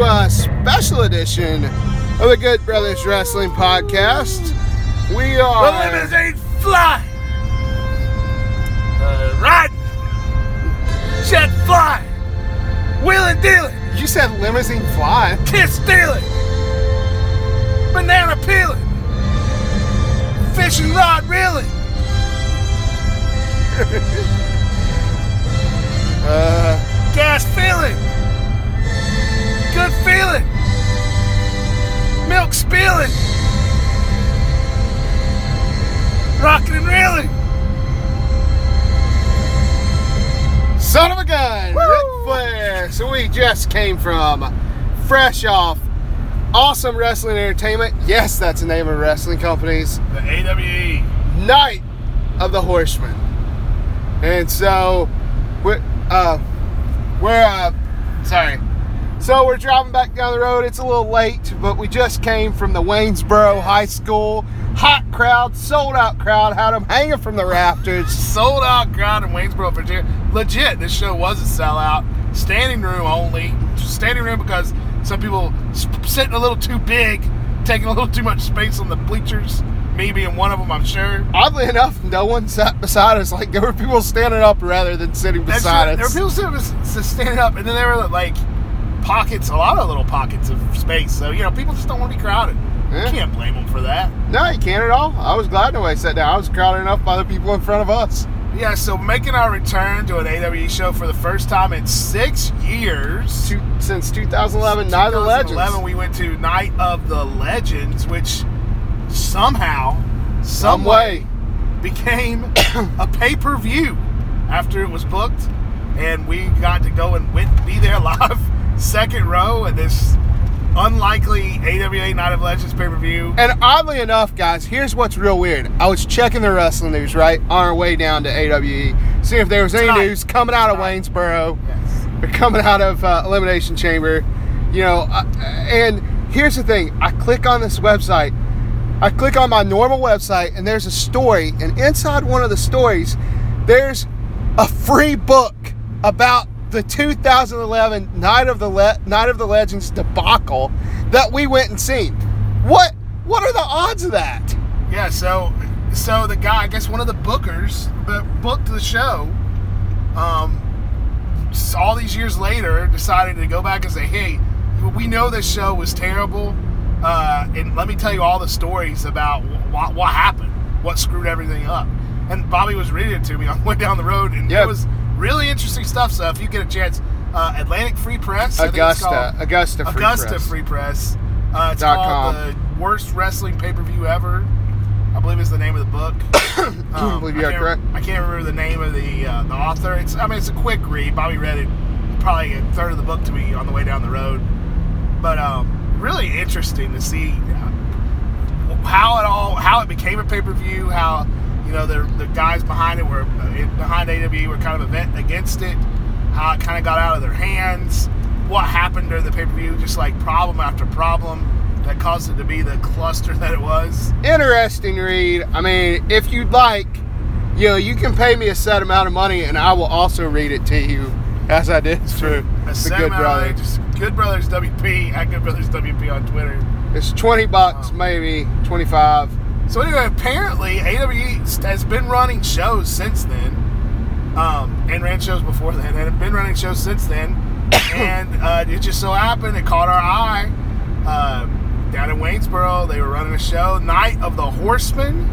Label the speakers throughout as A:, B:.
A: uh, edition of the Good Brothers Wrestling Podcast. We are.
B: The limousine fly! Uh, ride! Jet fly! Wheel and deal it!
A: You said limousine fly.
B: Kiss steal it! Banana peel it! Fishing rod reel it!
A: Uh,
B: Gas feeling. Good feeling. Milk spilling. Rocking and reeling.
A: son of a gun!
B: Woo!
A: Ric Flair. So we just came from fresh off awesome wrestling entertainment. Yes, that's the name of wrestling companies.
B: The AWE.
A: Night of the Horsemen. And so, we're, uh, we're, uh, sorry. So we're driving back down the road. It's a little late, but we just came from the Waynesboro High School. Hot crowd, sold out crowd, had them hanging from the rafters.
B: Sold out crowd in Waynesboro, Virginia. Legit, this show was a sellout. Standing room only. Standing room because some people s- sitting a little too big, taking a little too much space on the bleachers. Me being one of them, I'm sure.
A: Oddly enough, no one sat beside us. Like, there were people standing up rather than sitting
B: That's
A: beside
B: right. There were
A: us.
B: people sitting s- s- standing up, and then there were like pockets, a lot of little pockets of space. So you know, people just don't want to be crowded.
A: Yeah.
B: You can't blame them for that.
A: no, you can't at all. I was glad nobody sat down. I was crowded enough by the people in front of us.
B: Yeah. So making our return to an AWE show for the first time in six years.
A: Two, since 2011, Night of the Legends.
B: 2011, we went to Night of the Legends, which somehow, some
A: Some
B: way,
A: way.
B: became a pay per view after it was booked, and we got to go and wit- be there live, second row at this unlikely AWA Night of Legends pay per view.
A: And oddly enough, guys, here's what's real weird. I was checking the wrestling news, right, on our way down to AWE, seeing if there was any
B: Tonight.
A: news coming out of
B: Tonight.
A: Waynesboro or coming out of uh, Elimination Chamber. You know, I, and here's the thing I click on this website, I click on my normal website, and there's a story, and inside one of the stories, there's a free book about the 2011 Night of the Le- Night of the Legends debacle that we went and seen. What what are the odds of that?
B: Yeah, so so the guy, I guess one of the bookers that booked the show, um, s- all these years later, decided to go back and say, "Hey, we know this show was terrible, uh, and let me tell you all the stories about wh- what happened, what screwed everything up." And Bobby was reading it to me on the way down the road, and it
A: Yep.
B: was really interesting stuff. So if you get a chance, uh, Atlantic Free Press, I think it's
A: Augusta,
B: called.
A: Augusta, free
B: Augusta
A: Press.
B: Free Press. Uh, it's
A: Dot
B: called
A: com.
B: the worst wrestling pay per view ever. I believe is the name of the book. Um,
A: believe you are
B: can't-
A: correct.
B: I can't remember the name of the uh, the author. It's I mean it's a quick read. Bobby read it probably a third of the book to me on the way down the road. But um, really interesting to see uh, how it all how it became a pay per view. How you know the the guys behind it were behind AW were kind of event against it. How it kind of got out of their hands. What happened during the pay per view? Just like problem after problem that caused it to be the cluster that it was.
A: interesting read. I mean, if you'd like, you know, you can pay me a set amount of money, and I will also read it to you, as I did for
B: A
A: the
B: Sam
A: Good
B: Allen,
A: Brother.
B: just Good Brothers WP at Good Brothers WP on Twitter.
A: It's twenty bucks,
B: Wow.
A: maybe twenty-five.
B: So anyway, apparently AWE has been running shows since then, um, and ran shows before then, and have been running shows since then. and uh, it just so happened it caught our eye uh, down in Waynesboro. They were running a show, Night of the Horsemen.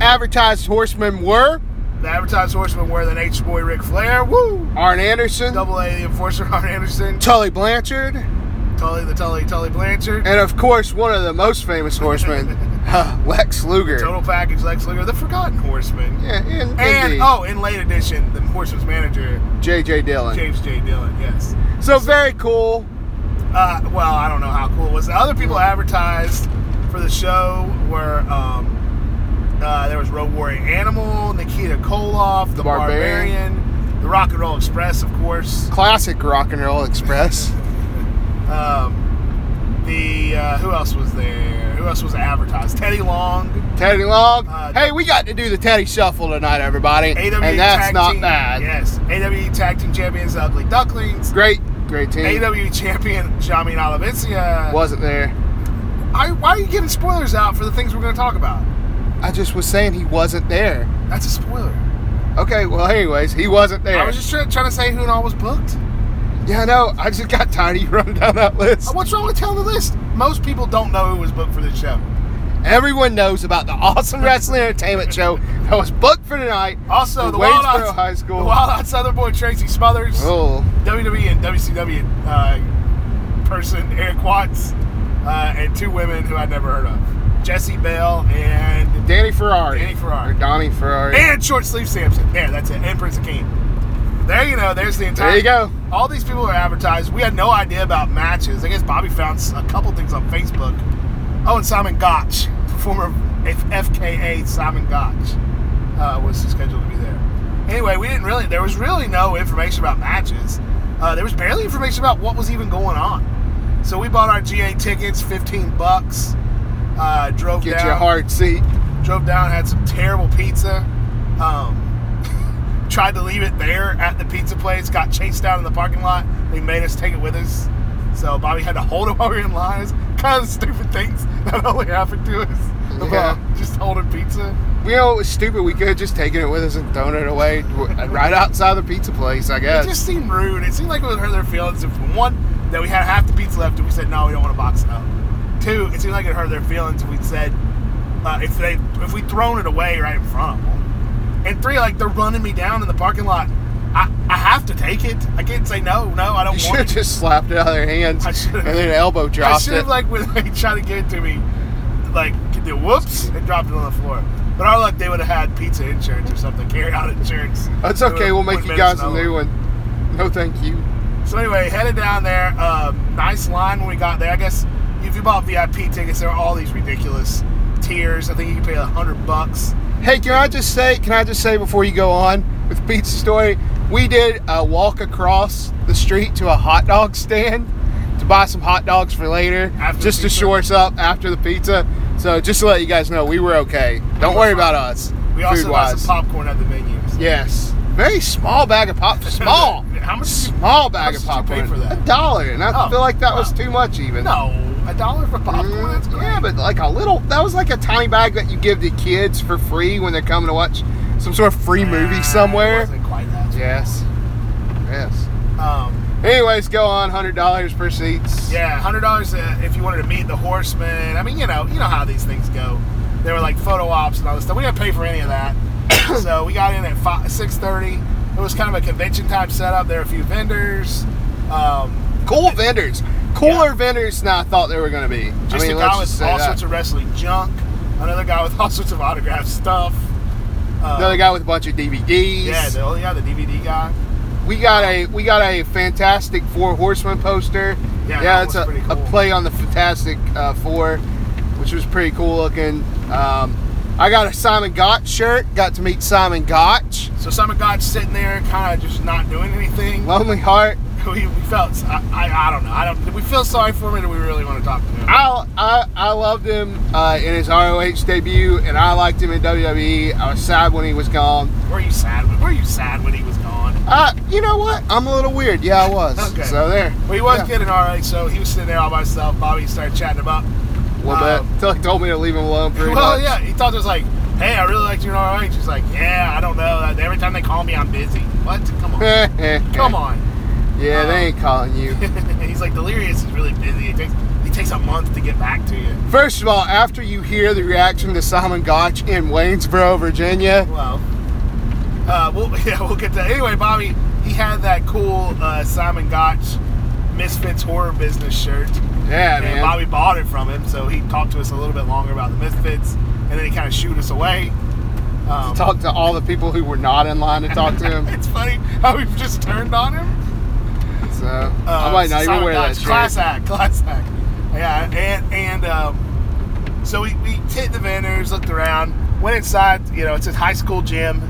A: Advertised horsemen were
B: The advertised horsemen were the Nature Boy Ric Flair, woo,
A: Arn Anderson,
B: Double A the Enforcer Ron Anderson,
A: Tully Blanchard,
B: Tully the Tully Tully Blanchard.
A: and of course, one of the most famous horsemen, huh, Lex Luger.
B: Total package, Lex Luger, the Forgotten Horseman.
A: Yeah, in,
B: And
A: indeed.
B: oh, in late edition, the Horseman's manager,
A: J.J. Dillon.
B: James J. Dillon. Yes.
A: so very cool.
B: Uh, well, I don't know how cool it was. The other people advertised for the show were um, uh, there was Road Warrior Animal, Nikita Koloff, The, Barbarian.
A: Barbarian.
B: The Rock and Roll Express, of course.
A: Classic Rock and Roll Express.
B: Um, the uh, who else was there? Who else was advertised? Teddy Long.
A: Teddy Long.
B: Uh,
A: hey, we got to do the Teddy Shuffle tonight, everybody.
B: AW
A: and that's
B: E tag
A: not
B: team,
A: bad.
B: E Yes, AW Tag Team Champions, Ugly Ducklings.
A: Great Great team.
B: AW champion Jamin Olivencia.
A: Wasn't there.
B: I, why are you giving spoilers out for the things we're going to talk about?
A: I just was saying he wasn't there.
B: That's a spoiler.
A: Okay, well, anyways, he wasn't there.
B: I was just try, trying to say who and all was booked.
A: yeah, no, I just got tired of you running down that list.
B: Uh, What's wrong with telling the list? Most people don't know who was booked for this show.
A: Everyone knows about the awesome wrestling entertainment show that was booked for tonight.
B: Also,
A: in
B: the Wild,
A: Waynesboro
B: Eyed,
A: High School.
B: the Wild Eyed Southern Boy Tracy Smothers,
A: Oh,
B: WWE and WCW uh, person Eric Watts, uh, and two women who I'd never heard of, Jesse Bell and
A: Danny Ferrari.
B: Danny Ferrari.
A: Or Donnie Ferrari.
B: and Short Sleeve Samson. There, that's it. And Prince Akeem. There you know. There's the entire.
A: there you go.
B: All these people are advertised. We had no idea about matches. I guess Bobby found s- a couple things on Facebook. Oh, and Simon Gotch, former F- FKA Simon Gotch, uh, was scheduled to be there. Anyway, we didn't really. There was really no information about matches. Uh, there was barely information about what was even going on. So we bought our GA tickets, fifteen bucks. Uh, drove
A: Get
B: down
A: your hard seat.
B: drove down, had some terrible pizza. Um, tried to leave it there at the pizza place, got chased down in the parking lot. They made us take it with us. So Bobby had to hold it while we were in lines. Kind of stupid things that only happened to us.
A: Yeah.
B: About just holding pizza.
A: You know, it was stupid. We could have just taken it with us and thrown it away w- right outside the pizza place, I
B: It
A: guess.
B: just seemed rude. It seemed like it would hurt their feelings if one that we had half the pizza left and we said no, we don't want to box it up. Two, it seemed like it hurt their feelings if we said uh, if they if we thrown it away right in front of them. And three, like they're running me down in the parking lot. I, I have to take it. I can't say no, no, I
A: you
B: don't
A: should have
B: want it.
A: just slapped it out of their hands
B: I
A: and
B: should've-
A: then elbow
B: I
A: dropped
B: should have
A: it.
B: like when they tried to give it to me, like the whoops and dropped it on the floor. But our luck, they would have had pizza insurance or something, carry out insurance.
A: That's
B: They
A: okay.
B: would've-
A: We'll make
B: would've
A: you
B: made us
A: guys a
B: another
A: new one. No, thank you.
B: So anyway, headed down there. Um, nice line when we got there. I guess if you bought VIP tickets, there are all these ridiculous tiers. I think you can pay a hundred bucks.
A: Hey, can I just say? Can I just say before you go on with the pizza story? We did a walk across the street to a hot dog stand to buy some hot dogs for later,
B: After the
A: just to
B: pizza?
A: shore us up after the pizza. So just to let you guys know, we were okay. Don't
B: were
A: worry
B: fine.
A: about us.
B: We also
A: food-wise.
B: bought some popcorn at the venue.
A: Yes. Very small bag of pop. Small.
B: How much? did you-
A: small bag of
B: much did you pay
A: popcorn.
B: for that?
A: A dollar, and I
B: Oh,
A: feel like that was
B: wow.
A: too much even.
B: No, a dollar for popcorn.
A: Mm,
B: That's great.
A: yeah, but like a little. That was like a tiny bag that you give to kids for free when they're coming to watch some sort of free
B: Ah,
A: movie
B: it
A: somewhere.
B: wasn't quite that.
A: Yes. Yes.
B: Um,
A: Anyways, go on. Hundred dollars per seats.
B: yeah, hundred dollars uh, if you wanted to meet the horseman. I mean, you know, you know how these things go. There were like photo ops and all this stuff. We didn't pay for any of that. so we got in at five, six thirty. It was kind of a convention type setup. There were a few vendors. Um,
A: Cool vendors. Cooler
B: Yeah.
A: vendors than I thought they were going to be.
B: just
A: I mean, let's
B: a guy
A: just
B: with
A: say
B: all
A: that.
B: sorts of wrestling junk. Another guy with all sorts of autograph stuff. Uh,
A: Another guy with a bunch of DVDs.
B: Yeah, the only guy, the DVD guy.
A: We got a we got a fantastic Four Horsemen poster. yeah
B: Yeah, that
A: it's a,
B: one's pretty
A: a
B: cool.
A: play on the Fantastic uh, Four, which was pretty cool looking. Um, I got a Simon Gotch shirt. Got to meet Simon Gotch.
B: So Simon God's sitting there, kind of just not doing anything.
A: Lonely Heart.
B: we, we felt I, I, I don't know. I don't. Did we feel sorry for him, or do we really want to talk to him?
A: I I, I loved him uh, in his ROH debut, and I liked him in WWE. I was sad when he was gone.
B: Were you sad? When, were you sad when he was gone?
A: Uh, you know what? I'm a little weird. Yeah, I was.
B: Okay.
A: So there.
B: Well, he was
A: Yeah.
B: getting all right, so he was sitting there all by himself. Bobby started chatting about.
A: A little
B: Um,
A: bit. Until he told me to leave him alone for
B: Well, yeah, he thought it was like, hey, I really liked you in ROH. He's like, yeah, I don't know. Like, Every time they call me, I'm busy. What? Come on. Come on.
A: Yeah,
B: Um,
A: they ain't calling you.
B: He's like, Delirious is really busy. It takes it takes a month to get back to you.
A: First of all, after you hear the reaction to Simon Gotch in Waynesboro, Virginia,
B: Well, uh, we'll yeah, we'll get to anyway. Bobby, he had that cool uh, Simon Gotch Misfits horror business shirt,
A: yeah,
B: and
A: man,
B: Bobby bought it from him. So he talked to us a little bit longer about the Misfits, and then he kind of shooed us away. Um,
A: talked to all the people who were not in line to talk to him.
B: it's funny how we just turned on him.
A: So I might not even
B: Simon
A: wear that
B: Uh, Gotch,
A: shirt.
B: Class act, class act. Yeah, and and um, so we, we hit the vendors, looked around, went inside. You know, it's a high school gym.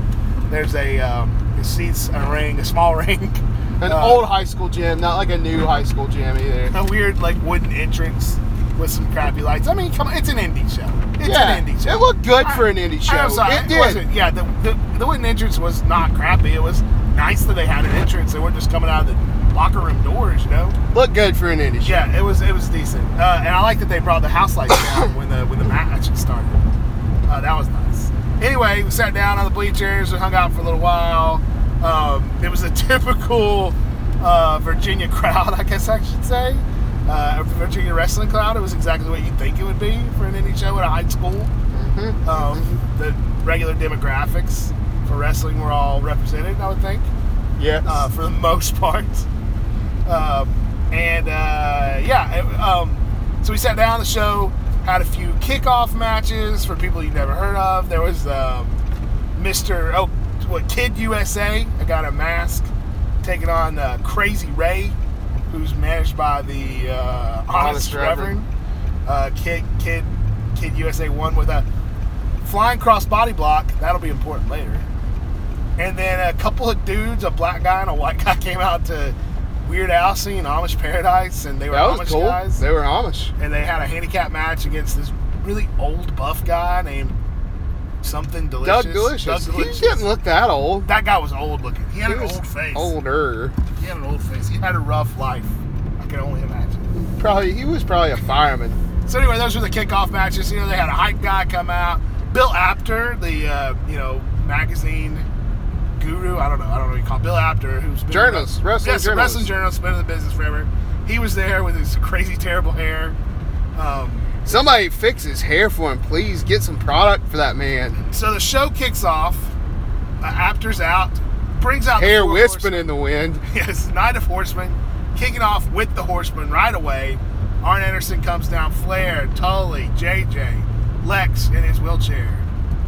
B: There's a um, it seats a ring, a small ring,
A: An
B: uh,
A: old high school gym, not like a new high school gym either.
B: a weird like wooden entrance with some crappy lights. I mean, come on, it's an indie show. It's
A: yeah,
B: an indie show.
A: it looked good
B: I-
A: for an indie show.
B: I'm sorry,
A: it did.
B: wasn't- yeah, the, the the wooden entrance was not crappy. It was nice that they had an entrance. They weren't just coming out of the locker room doors, you know.
A: Look good for an indie show.
B: Yeah, it was it was decent, uh, and I like that they brought the house lights down when the when the match started. Uh, that was nice. Anyway, we sat down on the bleachers, we hung out for a little while. Um, it was a typical uh, Virginia crowd, I guess I should say. Uh, a Virginia wrestling crowd. It was exactly what you'd think it would be for an indie show at a high school.
A: Mhm.
B: Um, the regular demographics for wrestling were all represented, I would think
A: Yes.
B: uh, for the most part. Um, and uh, yeah, it- um, so we sat down on the show, had a few kickoff matches for people you've never heard of. There was um, Mr. Oh, what Kid USA? I got a mask taking on uh, Crazy Ray, who's managed by the uh,
A: Honest
B: Honest, Reverend.
A: Reverend.
B: Uh, Kid Kid Kid USA won with a flying cross body block. That'll be important later. And then a couple of dudes, a black guy and a white guy, came out to Weird Al singing Amish Paradise, and they were
A: that was
B: Amish
A: cool.
B: guys.
A: They were Amish.
B: and they had a handicap match against this really old buff guy named something delicious.
A: Doug Delicious.
B: Doug Delicious.
A: He didn't look that old.
B: that guy was old looking. He had
A: He
B: an
A: was
B: old face.
A: Older.
B: He had an old face. He had a rough life. I can only imagine.
A: Probably he was probably a fireman.
B: So anyway, those were the kickoff matches. You know, they had a hype guy come out. Bill Apter, the uh, you know magazine guru. I don't know. I don't know what you call it. Bill Apter, who's been
A: Journalist, wrestling
B: yes,
A: journalist.
B: wrestling journalist, been in the business forever. He was there with his crazy terrible hair. Um,
A: Somebody fix his hair for him, please. Get some product for that man.
B: so the show kicks off. Uh, Apter's out, brings out the
A: Hair
B: four
A: wisping in the wind.
B: Yes, Knight of Horsemen, kicking off with the Horsemen right away. Arn Anderson comes down, Flair, Tully, JJ, Lex in his wheelchair.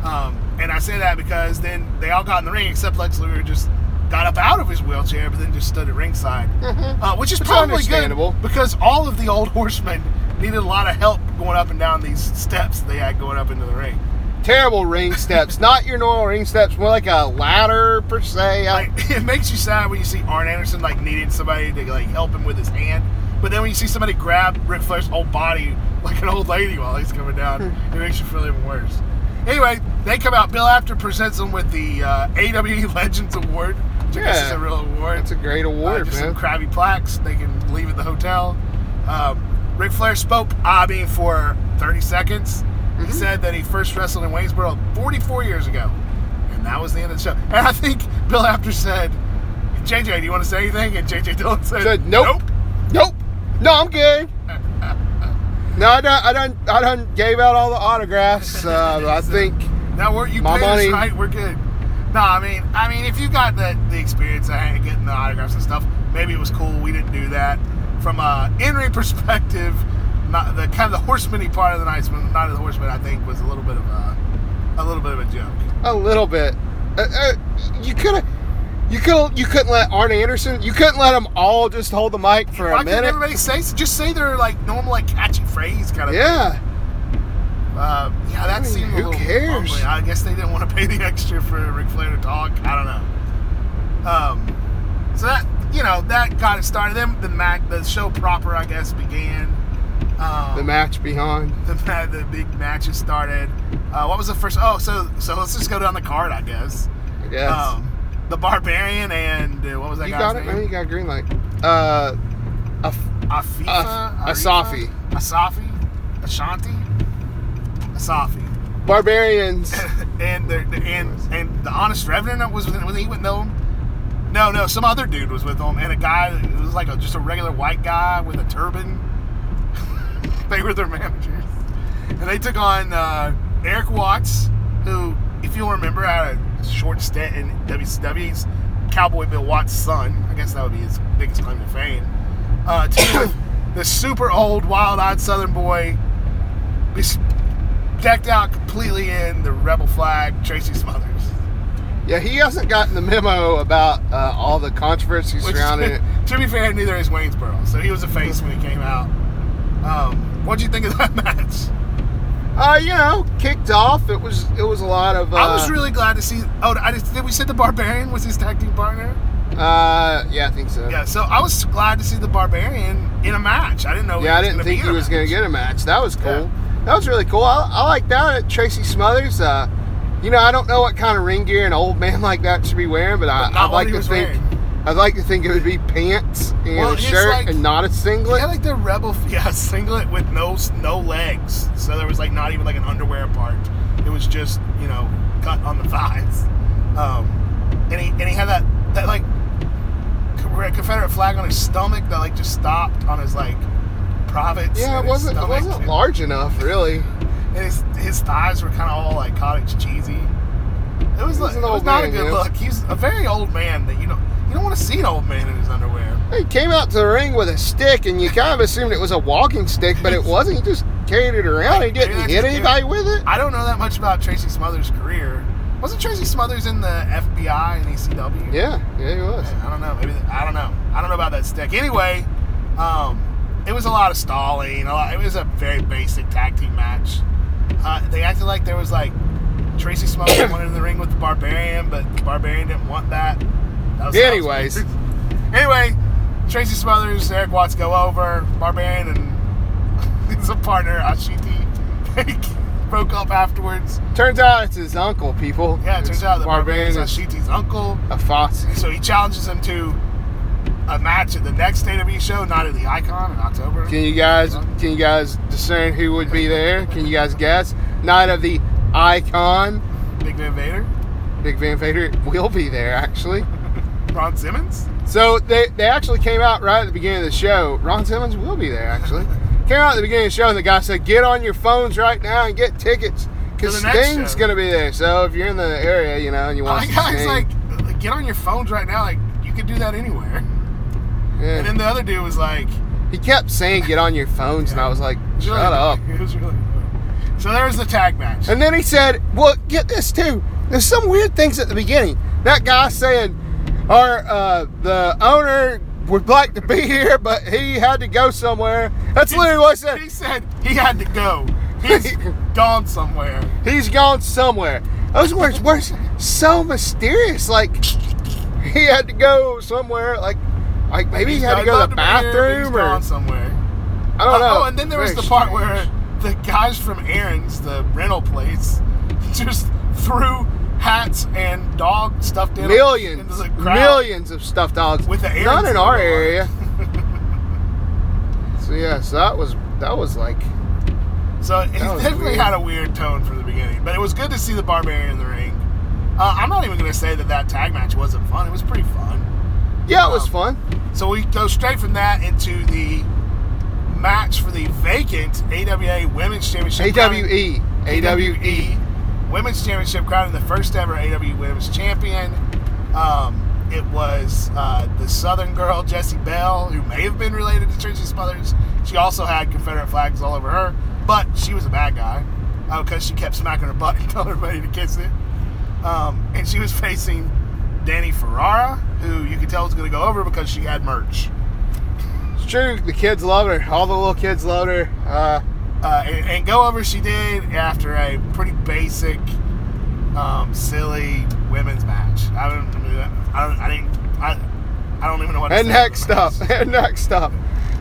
B: Um, and I say that because then they all got in the ring except Lex Luger just got up out of his wheelchair, but then just stood at ringside, uh, which is
A: Mm-hmm. Which is
B: probably
A: understandable.
B: good because all of the old Horsemen needed a lot of help going up and down these steps they had going up into the ring.
A: Terrible ring steps. Not your normal ring steps. More like a ladder per se. I-
B: like it makes you sad when you see Arn Anderson like needing somebody to like help him with his hand. But then when you see somebody grab Ric Flair's whole body like an old lady while he's coming down, it makes you feel even worse. Anyway, they come out. Bill After presents them with the uh, AWE Legends Award, which I guess
A: Yeah.
B: is a real award.
A: That's a great
B: Uh,
A: award,
B: just some
A: man.
B: crabby plaques. They can leave at the hotel. Um, Ric Flair spoke, I mean, for 30 seconds.
A: Mm-hmm.
B: He said that he first wrestled in Waynesboro 44 years ago. And that was the end of the show. And I think Bill After said, JJ, do you want to say anything? And JJ Dillon said,
A: Said nope. Nope. No, I'm good. No, I done, I done, I done gave out all the autographs. Uh, I
B: So,
A: think
B: Now we're you
A: My
B: paid us
A: money-
B: right, we're good. No, I mean, I mean, if you got the the experience I had getting the autographs and stuff, maybe it was cool. We didn't do that. From a in-ring perspective, not the kind of the horsemany part of the night, not of the horseman, I think was a little bit of a a little bit of a joke.
A: a little bit. Uh, uh, you could have. You could you couldn't let Arn Anderson. You couldn't let them all just hold the mic for
B: Why
A: a
B: couldn't
A: minute.
B: everybody say just say their like normal like catchy phrase kind of?
A: Yeah,
B: Uh, yeah,
A: I
B: that
A: mean,
B: seemed a
A: who
B: little
A: cares?
B: mumbly. I guess they didn't want to pay the extra for Ric Flair to talk. I don't know. Um, so that you know that got it started. Then the Mac, the show proper, I guess, began. Um,
A: the match beyond.
B: the, ma- the big matches started. Uh, what was the first? Oh, so so let's just go down the card, I guess.
A: I guess
B: Um, the Barbarian and uh, what was that
A: you
B: guy's
A: got it.
B: name?
A: Man, you got a green light. Uh, a f-
B: Afifa?
A: Af-
B: Arifa?
A: Uh, Asafi.
B: Asafi? Ashanti? Asafi.
A: barbarians.
B: and the, the and and the honest revenant was with, was he with them? No, no, some other dude was with them, and a guy it was like a, just a regular white guy with a turban. they were their managers, and they took on uh, Eric Watts, who, if you'll remember, had a short stint in WCW's Cowboy Bill Watts' son. I guess that would be his biggest claim to fame. Uh, to the super old, wild-eyed Southern boy, bes- decked out completely in the rebel flag, Tracy Smothers.
A: yeah, he hasn't gotten the memo about uh, all the controversy
B: Which,
A: surrounding it.
B: to be fair, neither is Waynesboro, so he was a face when he came out. Um, what'd you think of that match?
A: Uh, you know, kicked off. It was it was a lot of. Uh,
B: I was really glad to see. Oh, I just, did we say the Barbarian was his tag team partner?
A: Uh, yeah, I think so.
B: Yeah, so I was glad to see the Barbarian in a match. I didn't know.
A: Yeah, I
B: was
A: didn't
B: gonna
A: think
B: be in
A: he
B: a
A: was going
B: match.
A: to get a match. That was cool.
B: Yeah.
A: That was really cool. I, I like that at Tracy Smothers. Uh, you know, I don't know what kind of ring gear an old man like that should be wearing, but I,
B: But
A: I'd
B: not what
A: like
B: he
A: to
B: was
A: think.
B: wearing.
A: I'd like to think it would be pants and
B: Well,
A: a
B: it's
A: shirt
B: like-
A: and not a singlet.
B: They had like the rebel, yeah, singlet with no no legs. So there was like not even like an underwear part. It was just you know cut on the thighs. Um, and he and he had that that like Confederate flag on his stomach that like just stopped on his like privates.
A: yeah, it
B: and his
A: wasn't it
B: stomach.
A: wasn't large enough, really.
B: And his his thighs were kind of all like cottage cheesy. It was,
A: He was
B: like,
A: an
B: it was
A: old
B: not
A: man,
B: a good
A: yeah.
B: look. He's a very old man that you don't you don't want to see an old man in his underwear.
A: He came out to the ring with a stick, and you kind of assumed it was a walking stick, but it wasn't. He just carried it around. He
B: Maybe
A: didn't
B: that's
A: hit
B: just-
A: anybody with it.
B: I don't know that much about Tracy Smothers' career. Wasn't Tracy Smothers in the FBI and ECW?
A: Yeah, yeah, he was.
B: I don't know. Maybe I don't know. I don't know about that stick. Anyway, um, it was a lot of stalling. A lot. It was a very basic tag team match. Uh, they acted like there was like Tracy Smothers wanted in the ring with the Barbarian, but the Barbarian didn't want that. that was-
A: Anyways.
B: that was- anyway, Tracy Smothers, Eric Watts go over. Barbarian and his partner Ashiti they broke up afterwards.
A: Turns out it's his uncle, people.
B: Yeah, it turns
A: It's
B: out that Barbarian is
A: is
B: Ashiti's uncle.
A: a fox.
B: So he challenges him to a match at the next WWE show, not at the Icon in October.
A: Can you guys can you guys discern who would be there? Can you guys guess? Night of the Icon,
B: Big Man Vader,
A: Big Van Vader will be there actually.
B: Ron Simmons.
A: So they, they actually came out right at the beginning of the show. Ron Simmons will be there actually. Came out at the beginning of the show and the guy said, "Get on your phones right now and get tickets because
B: To the next
A: Sting's
B: show."
A: gonna be there." So if you're in the area, you know, and you want
B: My
A: to see
B: guy's
A: Sting,
B: like, like, get on your phones right now. Like, you can do that anywhere.
A: yeah.
B: And then the other dude was like,
A: he kept saying, "Get on your phones," and I was like,
B: it was
A: "Shut
B: really-
A: up."
B: It was really funny. So there was the tag match.
A: And then he said, "Well, get this too. There's some weird things at the beginning. That guy saying, our uh, the owner would like to be here, but he had to go somewhere. That's literally what he said.
B: He said he had to go. He's gone somewhere.
A: He's gone somewhere. Those words were so mysterious. Like he had to go somewhere. Like, like maybe he
B: He's
A: had to
B: not
A: go to the
B: allowed be here, but
A: bathroom
B: he's
A: or
B: gone somewhere.
A: I don't know.
B: Oh, and then there was
A: Very
B: the part
A: strange.
B: where the guys from Aaron's, the rental place, just threw hats and dog stuffed animals into
A: millions,
B: the crowd.
A: millions of stuffed dogs.
B: With the
A: Not
B: Aaron's
A: in our
B: logo on it.
A: area. so yeah, so that was that was like
B: So it
A: That was
B: definitely
A: weird.
B: had a weird tone from the beginning, but it was good to see the Barbarian in the ring. Uh, I'm not even going to say that that tag match wasn't fun. It was pretty fun.
A: yeah, it was
B: Um,
A: fun.
B: So we go straight from that into the match for the vacant AWA Women's Championship.
A: AWE,
B: E.
A: AWE.
B: AWE Women's Championship, crowning the first ever AWE Women's Champion. Um, it was uh, the Southern girl Jessie Bell, who may have been related to Tracy Smothers. She also had Confederate flags all over her, but she was a bad guy because she kept smacking her butt and telling everybody to kiss it. Um, and she was facing Danny Ferrara, who you could tell was going to go over because she had merch.
A: It's true. The kids love her. All the little kids love her. Uh,
B: uh, and, and go over she did after a pretty basic, um, silly women's match. I don't, I, mean, I don't, I didn't, I, I don't even know what. to
A: and
B: say about
A: next
B: the
A: up,
B: match.
A: and next up,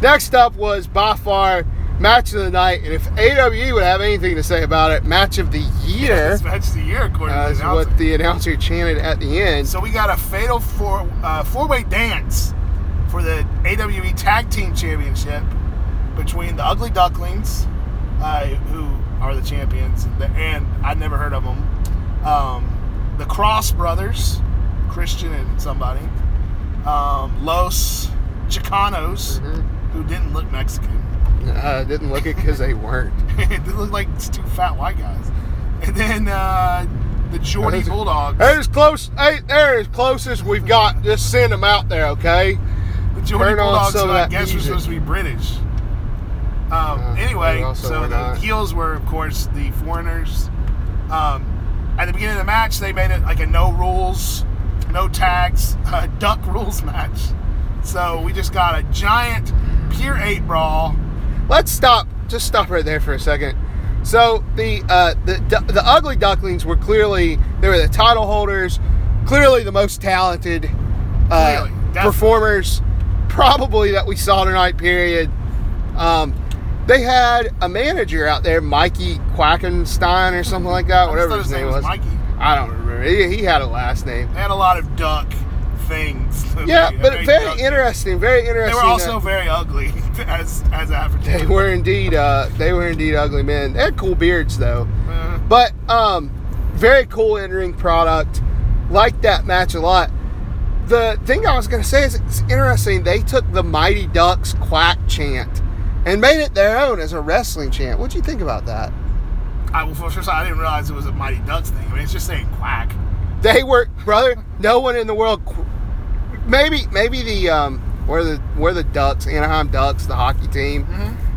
A: next up was by far match of the night. And if AWE would have anything to say about it, match of the year
B: this match of the year according to
A: as
B: the announcer.
A: what the announcer chanted at the end.
B: So we got a fatal four uh, four way dance for the AWE Tag Team Championship between the Ugly Ducklings, uh, who are the champions, and, the, and I'd never heard of them. Um, the Cross Brothers, Christian and somebody, um, Los Chicanos, who didn't look Mexican.
A: Mm-hmm. Uh, didn't look it because they weren't.
B: they looked like just two fat white guys, and then uh, the Jordy Bulldogs.
A: There's close. Hey, there is closest we've got. Just send them out there, okay?
B: The Jordan
A: Turn on
B: Bulldogs,
A: some of
B: I
A: that
B: guess, were
A: music.
B: supposed to be British. Um,
A: they
B: anyway,
A: also
B: so
A: were
B: the
A: not.
B: heels were, of course, the foreigners. Um, at the beginning of the match, they made it like a no rules, no tags, uh, duck rules match. So we just got a giant Pier 8 brawl.
A: Let's stop. Just stop right there for a second. So the uh, the du- the ugly ducklings were clearly they were the title holders, clearly the most talented uh,
B: Clearly, definitely.
A: performers probably that we saw tonight. Period. Um, they had a manager out there, Mikey Quackenstein or something like that,
B: I just
A: whatever
B: thought
A: his name was.
B: Mikey.
A: I don't remember. He, he had a last name.
B: They had a lot of duck things.
A: Yeah,
B: They're
A: but very
B: ugly.
A: interesting. Very interesting.
B: They were also
A: uh,
B: very ugly as as
A: they
B: African.
A: were indeed. Uh, they were indeed ugly men. They had cool beards though.
B: Uh,
A: But um, very cool in-ring product. Like that match a lot. The thing I was going to say is it's interesting. They took the Mighty Ducks quack chant and made it their own as a wrestling chant. What'd you think about that?
B: I well, for sure, I didn't realize it was a Mighty Ducks thing. I mean, it's just saying quack.
A: They were brother. No one in the world. qu- Maybe maybe the um, where the where the Ducks Anaheim Ducks the hockey team.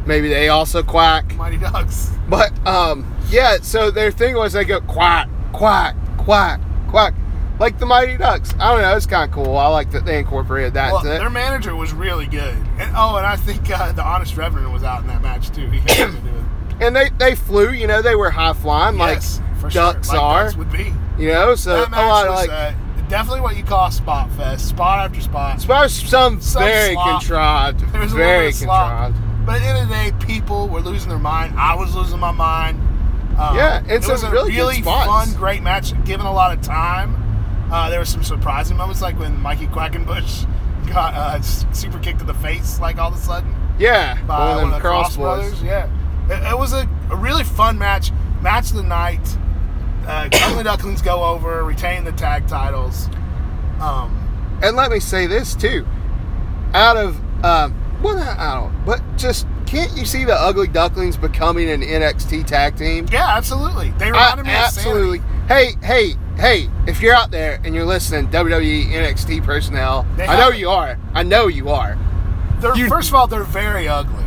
A: Maybe they also quack.
B: Mighty Ducks.
A: But um, yeah, so their thing was they go quack, quack, quack, quack, like the Mighty Ducks. I don't know, it's kind of cool. I like that they incorporated that.
B: Well,
A: to it.
B: their manager was really good. And oh, and I think uh, the Honest Reverend was out in that match too. He had something to do with.
A: And they they flew, you know, they were high flying
B: Yes, for
A: like
B: sure.
A: ducks
B: Like
A: are,
B: ducks would be.
A: you know. So a
B: that match
A: lot of
B: was
A: like
B: uh, definitely what you call a spot fest, spot after spot.
A: as far as some,
B: some
A: very
B: slop.
A: contrived,
B: There was a little bit
A: very
B: of slop.
A: contrived.
B: But at the end of the day, people were losing their mind. I was losing my mind. Um,
A: Yeah, and
B: it
A: some
B: was a
A: really
B: really,
A: good spots.
B: fun, great match. Given a lot of time, uh, there were some surprising moments, like when Mikey Quackenbush got uh, s- super kicked to the face, like all of a sudden
A: Yeah,
B: by
A: one of them cross boys.
B: Brothers. Yeah, it, it was a, a really fun match. Match of the night. Uh, Ugly Ducklings go over, retain the tag titles. Um,
A: And let me say this too. Out of um, well, I don't, but just can't you see the Ugly Ducklings becoming an NXT tag team?
B: yeah, absolutely. They
A: I,
B: reminded me of Sanity.
A: absolutely. Hey, hey, hey! If you're out there and you're listening, E WWE NXT personnel,
B: They
A: I know
B: have-
A: you are. I know you are.
B: They're,
A: You-
B: first of all, they're very ugly.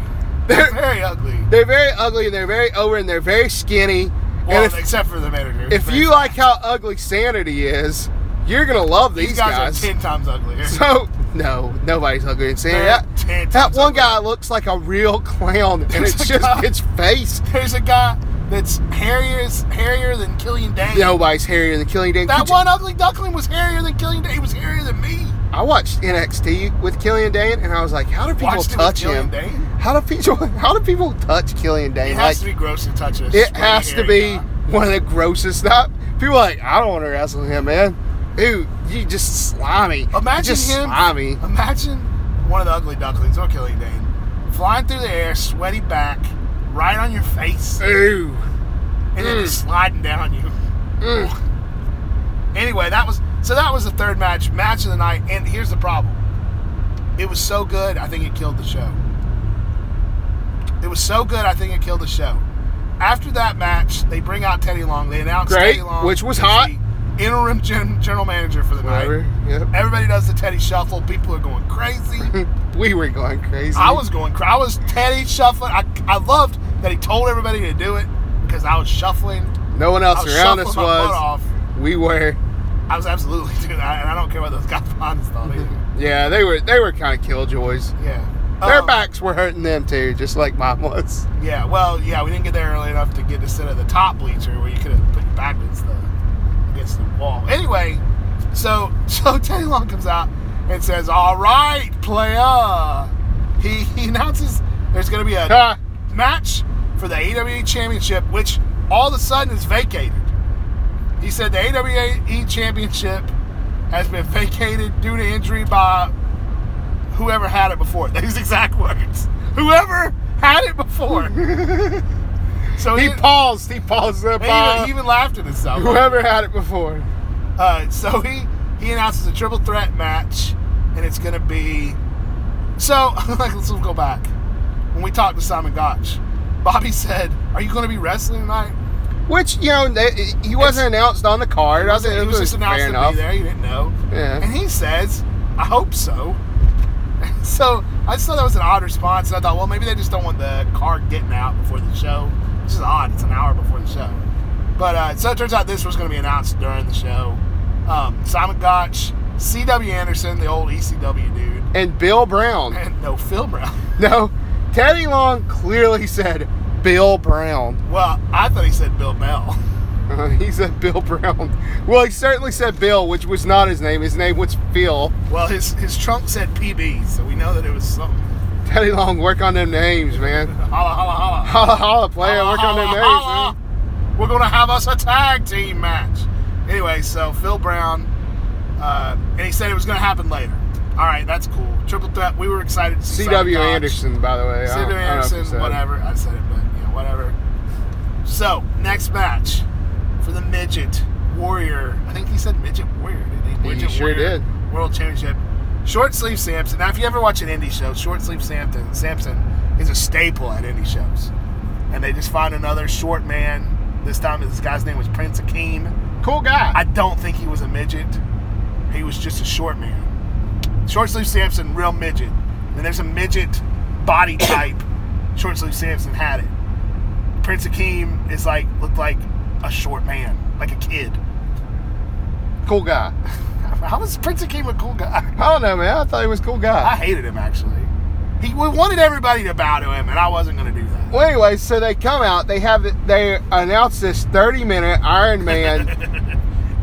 B: They're very ugly.
A: They're very ugly and they're very over and they're very skinny.
B: Well,
A: and if,
B: except for the manager.
A: if you like how ugly Sanity is, you're gonna love these,
B: these guys, are ten times uglier.
A: So no, nobody's ugly in Sanity.
B: They're
A: That-
B: ten
A: That
B: times
A: one
B: uglier.
A: guy looks like a real clown, and
B: There's
A: it's
B: a
A: just
B: guy-
A: its face.
B: There's a guy that's hairier, hairier than Killian Dane.
A: Nobody's hairier than Killing Dane.
B: that
A: Could you-
B: one ugly duckling was hairier than Killian Dane. He was hairier than me.
A: I watched NXT with Killian Dane, and I was like, how do people
B: Watched it with
A: touch him?
B: Killian Dane?
A: How do people? How do people touch Killian Dane?
B: It has
A: like,
B: to be gross to touch us.
A: it has to be one of the grossest. Not people are like I don't want to wrestle him, man. Ew, you just slimy. You
B: Imagine
A: just
B: him.
A: slimy.
B: Imagine one of the ugly ducklings, or Killian Dane, flying through the air, sweaty back, right on your face, and
A: Ew.
B: then just sliding down you.
A: Mm.
B: Anyway, that was so that was the third match, match of the night, and here's the problem. It was so good, I think it killed the show. It was so good, I think it killed the show. After that match, they bring out Teddy Long. They announce
A: Great,
B: Teddy Long,
A: which was
B: is
A: hot.
B: the interim gen- general manager for the
A: Whatever.
B: night.
A: Yep.
B: Everybody does the Teddy Shuffle. People are going crazy.
A: We were going crazy.
B: I was going crazy. I was Teddy shuffling. I, I loved that he told everybody to do it because I was shuffling.
A: No one
B: I
A: else
B: was
A: around
B: shuffling
A: us
B: my butt
A: was.
B: off.
A: We were.
B: I was absolutely doing that, and I don't care what those guys behind us thought either.
A: Yeah, they were. They were kind of killjoys.
B: Yeah.
A: Their
B: Um,
A: backs were hurting them too, just like mine was.
B: Yeah, well, yeah, we didn't get there early enough to get to sit at the top bleacher where you could have put your back against the, against the wall. Anyway, so so Teddy Long comes out and says, All right, player. He, he announces there's going to be a
A: Ha!
B: match for the AWE Championship, which all of a sudden is vacated. He said the AWE Championship has been vacated due to injury by whoever had it before. These exact words. Whoever had it before. so
A: he
B: he,
A: paused. He paused the
B: he even,
A: ball.
B: he even laughed at himself.
A: Whoever had it before.
B: Uh, so he he announces a triple threat match, and it's gonna be. So let's go back. When we talked to Simon Gotch, Bobby said, "Are you gonna be wrestling tonight?"
A: Which you know, they, he wasn't announced on the card. I think
B: he
A: it
B: was just announced
A: fair
B: to
A: enough.
B: be there. You didn't know.
A: Yeah.
B: And he says, "I hope so." so I just thought that was an odd response, and I thought, well, maybe they just don't want the card getting out before the show, which is odd. It's an hour before the show. But uh, so it turns out this was going to be announced during the show. Um, Simon Gotch, C.W. Anderson, the old ECW dude,
A: And Bill Brown.
B: and no Phil Brown.
A: No, Teddy Long clearly said Bill Brown.
B: Well, I thought he said Bill Bell.
A: Uh, he said Bill Brown. Well, he certainly said Bill, which was not his name. His name was Phil.
B: Well, his his trunk said PB, so we know that it was something.
A: Teddy Long, work on them names, man.
B: Holla, holla, holla.
A: Holla, holla, player, work on them
B: Holla,
A: names.
B: holla.
A: man.
B: We're gonna have us a tag team match. Anyway, so Phil Brown, uh, Uh, and he said it was going to happen later. All right, that's cool. Triple threat. We were excited. To see
A: C.W.
B: Simon Gotch.
A: Anderson, by the way. I don't-
B: C.W.
A: I don't know if you
B: Anderson,
A: said it.
B: whatever. I said it, but you know, whatever. So next match for the midget warrior. I think he said midget warrior. Didn't he?
A: He
B: Midget
A: sure
B: warrior
A: did.
B: World championship. Short sleeve Samson. Now, if you ever watch an indie show, short sleeve Samson Samson is a staple at indie shows, and they just find another short man. This time, this guy's name was Prince Akeem.
A: Cool guy.
B: I don't think he was a midget. He was just a short man. Short sleeve Samson, real midget. And there's a midget body type. short sleeve Samson had it. Prince Akeem is like looked like a short man, like a kid.
A: cool guy.
B: How was Prince Akeem a cool guy?
A: I don't know, man. I thought he was a cool guy.
B: I hated him actually. He we wanted everybody to bow to him, and I wasn't gonna do that.
A: Well, anyway, so they come out. They have it- they announce this 30 minute Iron Man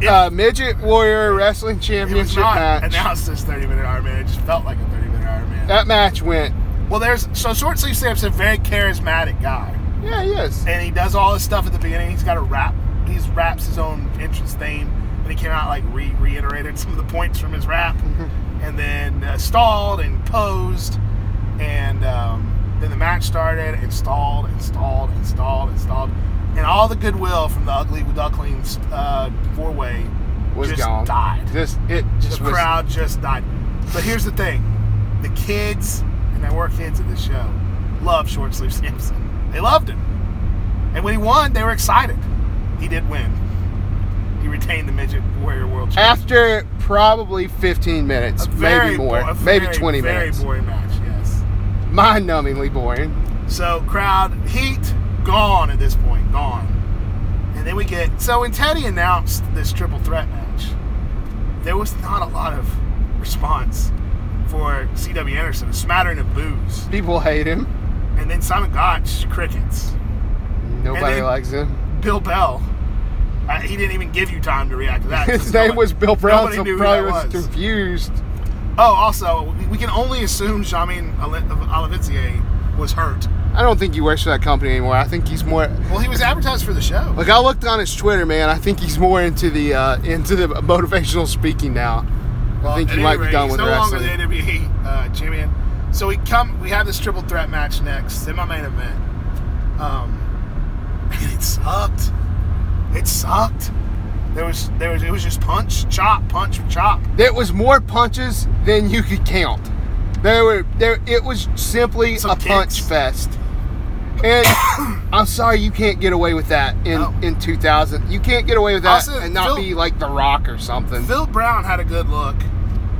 A: uh, midget warrior wrestling
B: It was
A: championship
B: not
A: match.
B: announced as 30 minute Iron Man. It just felt like a 30 minute Iron Man.
A: That match went.
B: well, there's so short sleeve Samson, very charismatic guy.
A: Yeah, he is.
B: and he does all his stuff at the beginning. He's got a rap. He raps his own entrance theme, and he came out like re- reiterated some of the points from his rap, and then uh, stalled and posed, and um, then the match started and stalled and stalled and stalled and stalled, and all the goodwill from the Ugly Ducklings uh, four way
A: Was
B: just
A: gone.
B: died
A: Just it just
B: the
A: was.
B: crowd just died. But here's the thing: the kids, and there were kids at the show, love short sleeve Samson. They loved him, and when he won, they were excited. He did win. He retained the midget warrior world championship.
A: After probably 15 minutes,
B: A
A: maybe
B: very
A: more,
B: bo- a
A: maybe
B: very,
A: 20
B: very
A: minutes.
B: boring match. Yes.
A: Mind-numbingly boring.
B: So crowd heat gone at this point, gone. And then we get so when Teddy announced this triple threat match, there was not a lot of response for C.W. Anderson, a smattering of boos,
A: People hate him.
B: and then Simon Gotch crickets.
A: Nobody
B: then-
A: likes him.
B: Bill Bell, uh, he didn't even give you time to react to that.
A: His
B: because
A: name
B: nobody-
A: was Bill Brown,
B: nobody
A: so
B: knew who
A: probably
B: that
A: was confused.
B: Oh, also, we- we can only assume Jamin Oli- Olivier was hurt.
A: I don't think he works for that company anymore. I think he's more.
B: Well, he was advertised for the show.
A: Like I looked on his Twitter, man. I think he's more into the uh, into the motivational speaking now. I think he
B: at any
A: might be
B: rate,
A: done
B: he's
A: with
B: no
A: wrestling.
B: longer the WWE uh, champion. So we come, we have this triple threat match next in my main event. Um, and it sucked. It sucked. There was, there was, it was just punch, chop, punch, chop.
A: There was more punches than you could count. There were there. It was simply
B: Some
A: a punch
B: kicks.
A: fest. And I'm sorry you can't get away with that in
B: No.
A: in 2000. You can't get away with that
B: Also,
A: and not
B: Phil-
A: be like The Rock or something.
B: Phil Brown had a good look.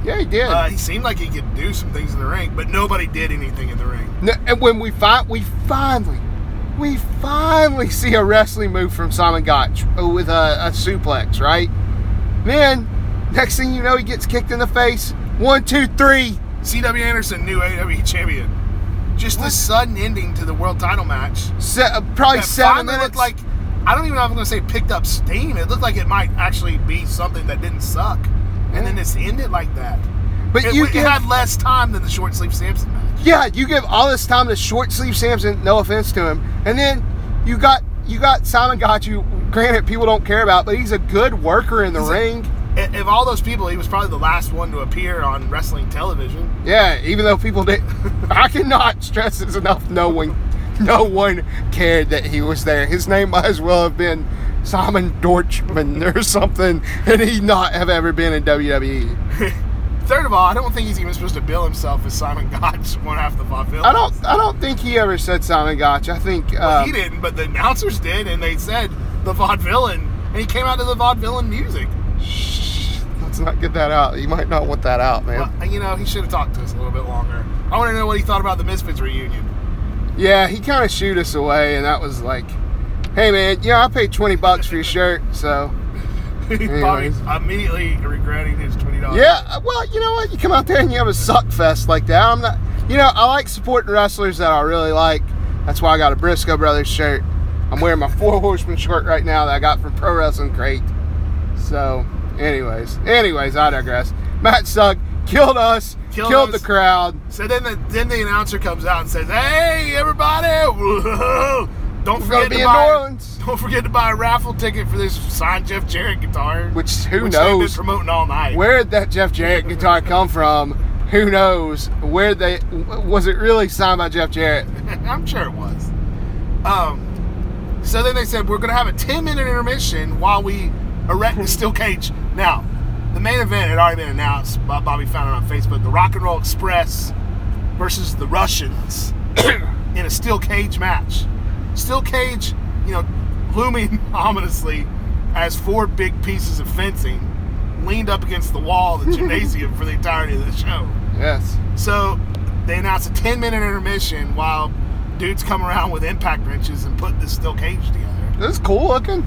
A: yeah, he did.
B: Uh, he seemed like he could do some things in the ring, but nobody did anything in the ring.
A: No, and when we find we finally we finally see a wrestling move from Simon Gotch uh, with a, a suplex, right? Then next thing you know, he gets kicked in the face. One, two, three.
B: C.W. Anderson, new AEW champion. Just a sudden ending to the world title match.
A: Se- uh, probably
B: that
A: seven
B: finally
A: minutes.
B: looked like I don't even know if I'm gonna say picked up steam. It looked like it might actually be something that didn't suck, and then it's ended like that.
A: but
B: it,
A: you
B: it
A: give,
B: had less time than the short sleeve Samson match.
A: yeah, you give all this time to short sleeve Samson. No offense to him, and then you got you got Simon Gotch. You granted people don't care about, but he's a good worker in the
B: He's a-
A: ring.
B: I- Of all those people, he was probably the last one to appear on wrestling television.
A: Yeah, even though people did, I cannot stress this enough. No one, no one cared that he was there. His name might as well have been Simon Dorchman or something, and he not have ever been in E. WWE.
B: Third of all, I don't think he's even supposed to bill himself as Simon Gotch one half the five
A: I don't, I don't think he ever said Simon Gotch. I think uh,
B: he didn't, but the announcers did, and they said the vaudevillain, and he came out to the vaudevillain music.
A: let's not get that out. You might not want that out, man.
B: Well, you know, he should have talked to us a little bit longer. I want to know what he thought about the Misfits reunion.
A: Yeah, he kind of shooed us away, and that was like, hey man, yeah, I paid twenty bucks for your shirt, so.
B: Bobby
A: Anyways.
B: immediately regretting his twenty dollars.
A: Yeah, uh, well, you know what? You come out there and you have a suck fest like that. I'm not, you know, I like supporting wrestlers that I really like. That's why I got a Briscoe Brothers shirt. I'm wearing my Four Horsemen shirt right now that I got from Pro Wrestling Crate. So, anyways, anyways, I digress. Matt Sugg killed us,
B: Killed
A: killed
B: us.
A: the crowd.
B: So then the then the announcer comes out and says, "Hey, everybody!" Don't
A: We're gonna
B: forget to
A: be in
B: buy,
A: New Orleans.
B: Don't forget to buy a raffle ticket for this signed Jeff Jarrett guitar,
A: Which who
B: which they've been
A: knows?
B: promoting all night.
A: Where did that Jeff Jarrett guitar come from? Who knows? Where they was it really signed by Jeff Jarrett?
B: I'm sure it was. Um, so then they said we're going to have a 10 minute intermission while we erect the steel cage. Now, the main event had already been announced. Bob- Bobby found it on Facebook: the Rock and Roll Express versus the Russians in a steel cage match. Steel cage, you know, looming ominously as four big pieces of fencing leaned up against the wall of the gymnasium for the entirety of the show.
A: Yes.
B: So they announced a 10 minute intermission while dudes come around with impact wrenches and put this steel cage together.
A: This is cool looking.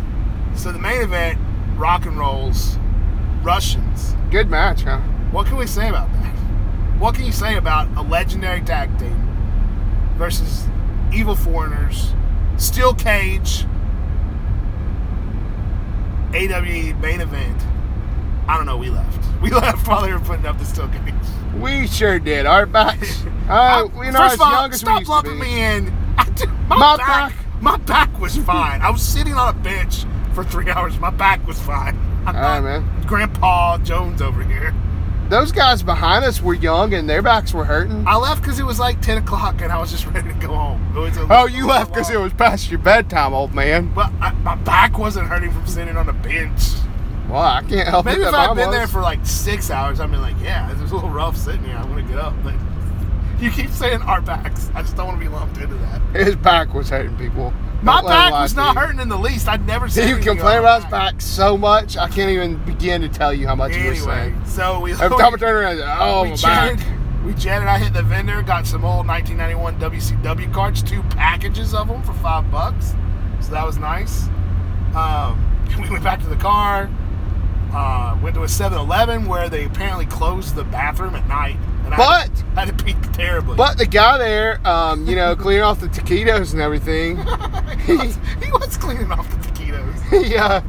B: So the main event, rock and rolls, Russians.
A: Good match, huh?
B: What can we say about that? What can you say about a legendary tag team versus evil foreigners, steel cage, AWE E main event? I don't know. We left. We left while they were putting up the steel cage.
A: We sure did. Our backs.
B: I-
A: Uh, you know, as
B: first of all,
A: young as we
B: stop
A: used to
B: lumping
A: be.
B: me in. I did- my,
A: My
B: back,
A: back.
B: my back was fine. I was sitting on a bench for three hours. My back was fine. I'm
A: All
B: not
A: right, man.
B: Grandpa Jones over here.
A: Those guys behind us were young and their backs were hurting.
B: I left because it was like ten o'clock and I was just ready to go home. It was a-
A: Oh, you left because it was past your bedtime, old man.
B: Well, I, my back wasn't hurting from sitting on a bench.
A: Well, I can't help
B: Maybe
A: it.
B: if
A: that
B: I'd
A: mine
B: been there
A: was.
B: for like six hours, I'd been like, yeah, it was a little rough sitting here. I want to get up, but you keep saying our backs. I just don't want to be lumped into that.
A: his back was hurting people.
B: My
A: Don't let him
B: back
A: lie
B: was
A: to
B: not
A: you.
B: hurting in the least. I'd never seen
A: He would
B: anything
A: complain
B: on my
A: about his back so much, I can't even begin to tell you how much he was
B: Anyway,
A: saying.
B: so we
A: Every time I turn around, oh,
B: we
A: my
B: chatted,
A: back.
B: we chatted. I hit the vendor, got some old 1991 WCW cards, two packages of them for five bucks. So that was nice. Um, we went back to the car. Uh, went to a 7-Eleven where they apparently closed the bathroom at night. And I had, to- had to pee terribly.
A: But the guy there, um, you know, cleaning off the taquitos and everything,
B: he, was, he was cleaning off the taquitos.
A: he, uh,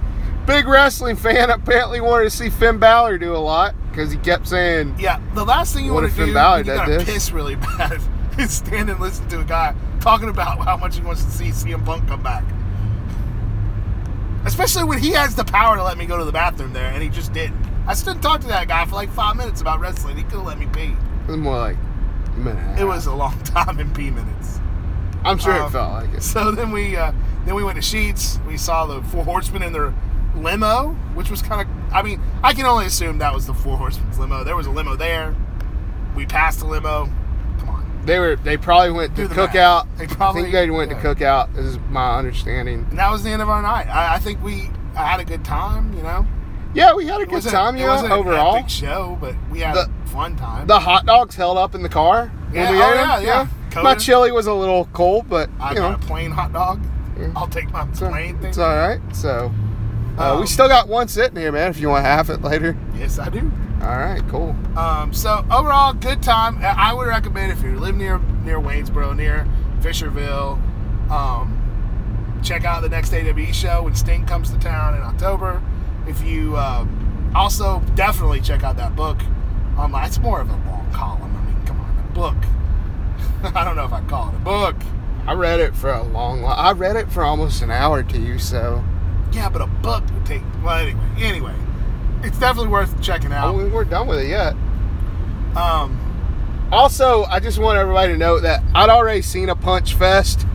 A: big wrestling fan, apparently wanted to see Finn Balor do a lot because he kept saying,
B: Yeah, the last thing you
A: What
B: want
A: if
B: to
A: Finn
B: do when
A: Balor
B: you
A: did
B: gotta
A: this?
B: piss really bad is stand and listen to a guy talking about how much he wants to see CM Punk come back. Especially when he has the power to let me go to the bathroom there, and he just didn't. I stood and talked to that guy for like five minutes about wrestling. He could have let me pee.
A: it was more like a minute. and a
B: It
A: half.
B: was a long time in pee minutes.
A: I'm sure
B: um,
A: it felt like it.
B: So then we uh, then we went to Sheets. We saw the Four Horsemen in their limo, which was kind of. I mean, I can only assume that was the Four Horsemen's limo. There was a limo there. We passed the limo. Come on.
A: They were. They probably went to
B: Do the math.
A: cookout.
B: They
A: I
B: probably-
A: think they went
B: yeah.
A: to cookout. Is my understanding.
B: And that was the end of our night. I, I think we I had a good time. You know,
A: Yeah, we had a
B: It
A: good
B: wasn't-
A: time.
B: it
A: You know,
B: wasn't an
A: overall,
B: epic show, but we had
A: The-
B: a fun time.
A: the hot dogs held up in the car when
B: Yeah,
A: we
B: oh,
A: ate
B: yeah,
A: them.
B: yeah.
A: My
B: Coated.
A: chili was a little cold, but
B: I
A: you know,
B: got a plain hot dog.
A: Yeah.
B: I'll take my
A: it's,
B: plain thing.
A: it's all right. So uh,
B: Um,
A: we still got one sitting here, man. If you want half it later.
B: yes, I do.
A: All right, cool.
B: Um, so overall, good time. I I would recommend if you live near near Waynesboro, near Fisherville, um, check out the next AWE show when Sting comes to town in October. If you uh, also definitely check out that book online. It's more of a long column. I mean, come on, a book. I don't know if I call it a book.
A: I read it for a long. while. I read it for almost an hour to you. So
B: Yeah, but a book would take. Well, anyway, anyway, it's definitely worth checking
A: I
B: out.
A: mean, we're done with it yet.
B: Um,
A: Also, I just want everybody to know that I'd already seen a punch fest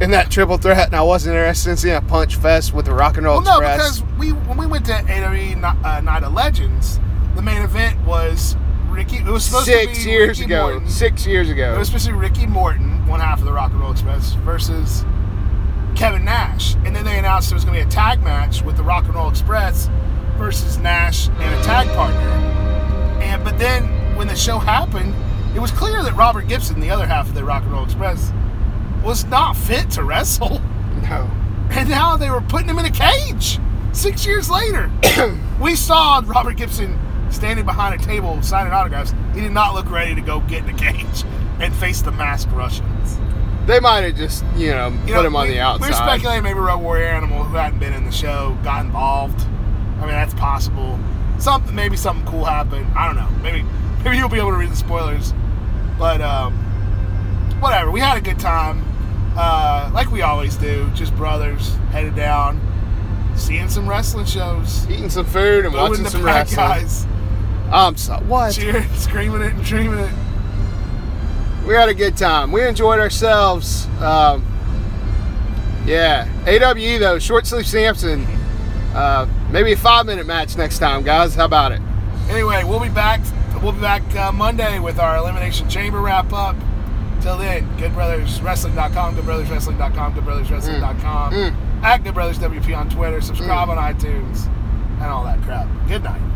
A: in that triple threat, and I wasn't interested in seeing a punch fest with the Rock and Roll
B: well, no,
A: Express.
B: because we when we went to AWE Ni- uh, Night of Legends, the main event was Ricky. It was supposed to be
A: six years
B: Ricky
A: ago,
B: Morton.
A: six years
B: It
A: ago,
B: was supposed to be Ricky Morton, one half of the Rock and Roll Express, versus Kevin Nash, and then they announced there was going to be a tag match with the Rock and Roll Express versus Nash and a tag partner. And but then when the show happened, it was clear that Robert Gibson, the other half of the Rock and Roll Express, was not fit to wrestle.
A: no,
B: And now they were putting him in a cage six years later. we saw Robert Gibson standing behind a table signing autographs. He did not look ready to go get in a cage and face the masked Russians.
A: they might have just you know put
B: You know,
A: him on
B: we-
A: the
B: We're
A: outside.
B: speculating maybe Road Warrior Animal, who hadn't been in the show, got involved. I mean, that's possible. Something, maybe something cool happened. I don't know. Maybe, maybe you'll be able to read the spoilers. But um, whatever. We had a good time. uh, like we always do, just brothers headed down, seeing some wrestling shows,
A: Eating some food and
B: booing
A: watching
B: the
A: some
B: bad
A: wrestling.
B: guys,
A: I'm so what?
B: cheering, screaming it, and dreaming it.
A: We had a good time. We enjoyed ourselves. Um, yeah. AWE though, short sleeve Samson. Uh, maybe a five minute match next time, guys. How about it?
B: Anyway, we'll be back. We'll be back uh, Monday with our Elimination Chamber wrap up. Till then, goodbrotherswrestling.com, goodbrotherswrestling.com, goodbrotherswrestling.com,
A: Mm.
B: at goodbrotherswp on Twitter, subscribe
A: Mm.
B: on iTunes, and all that crap. Good night.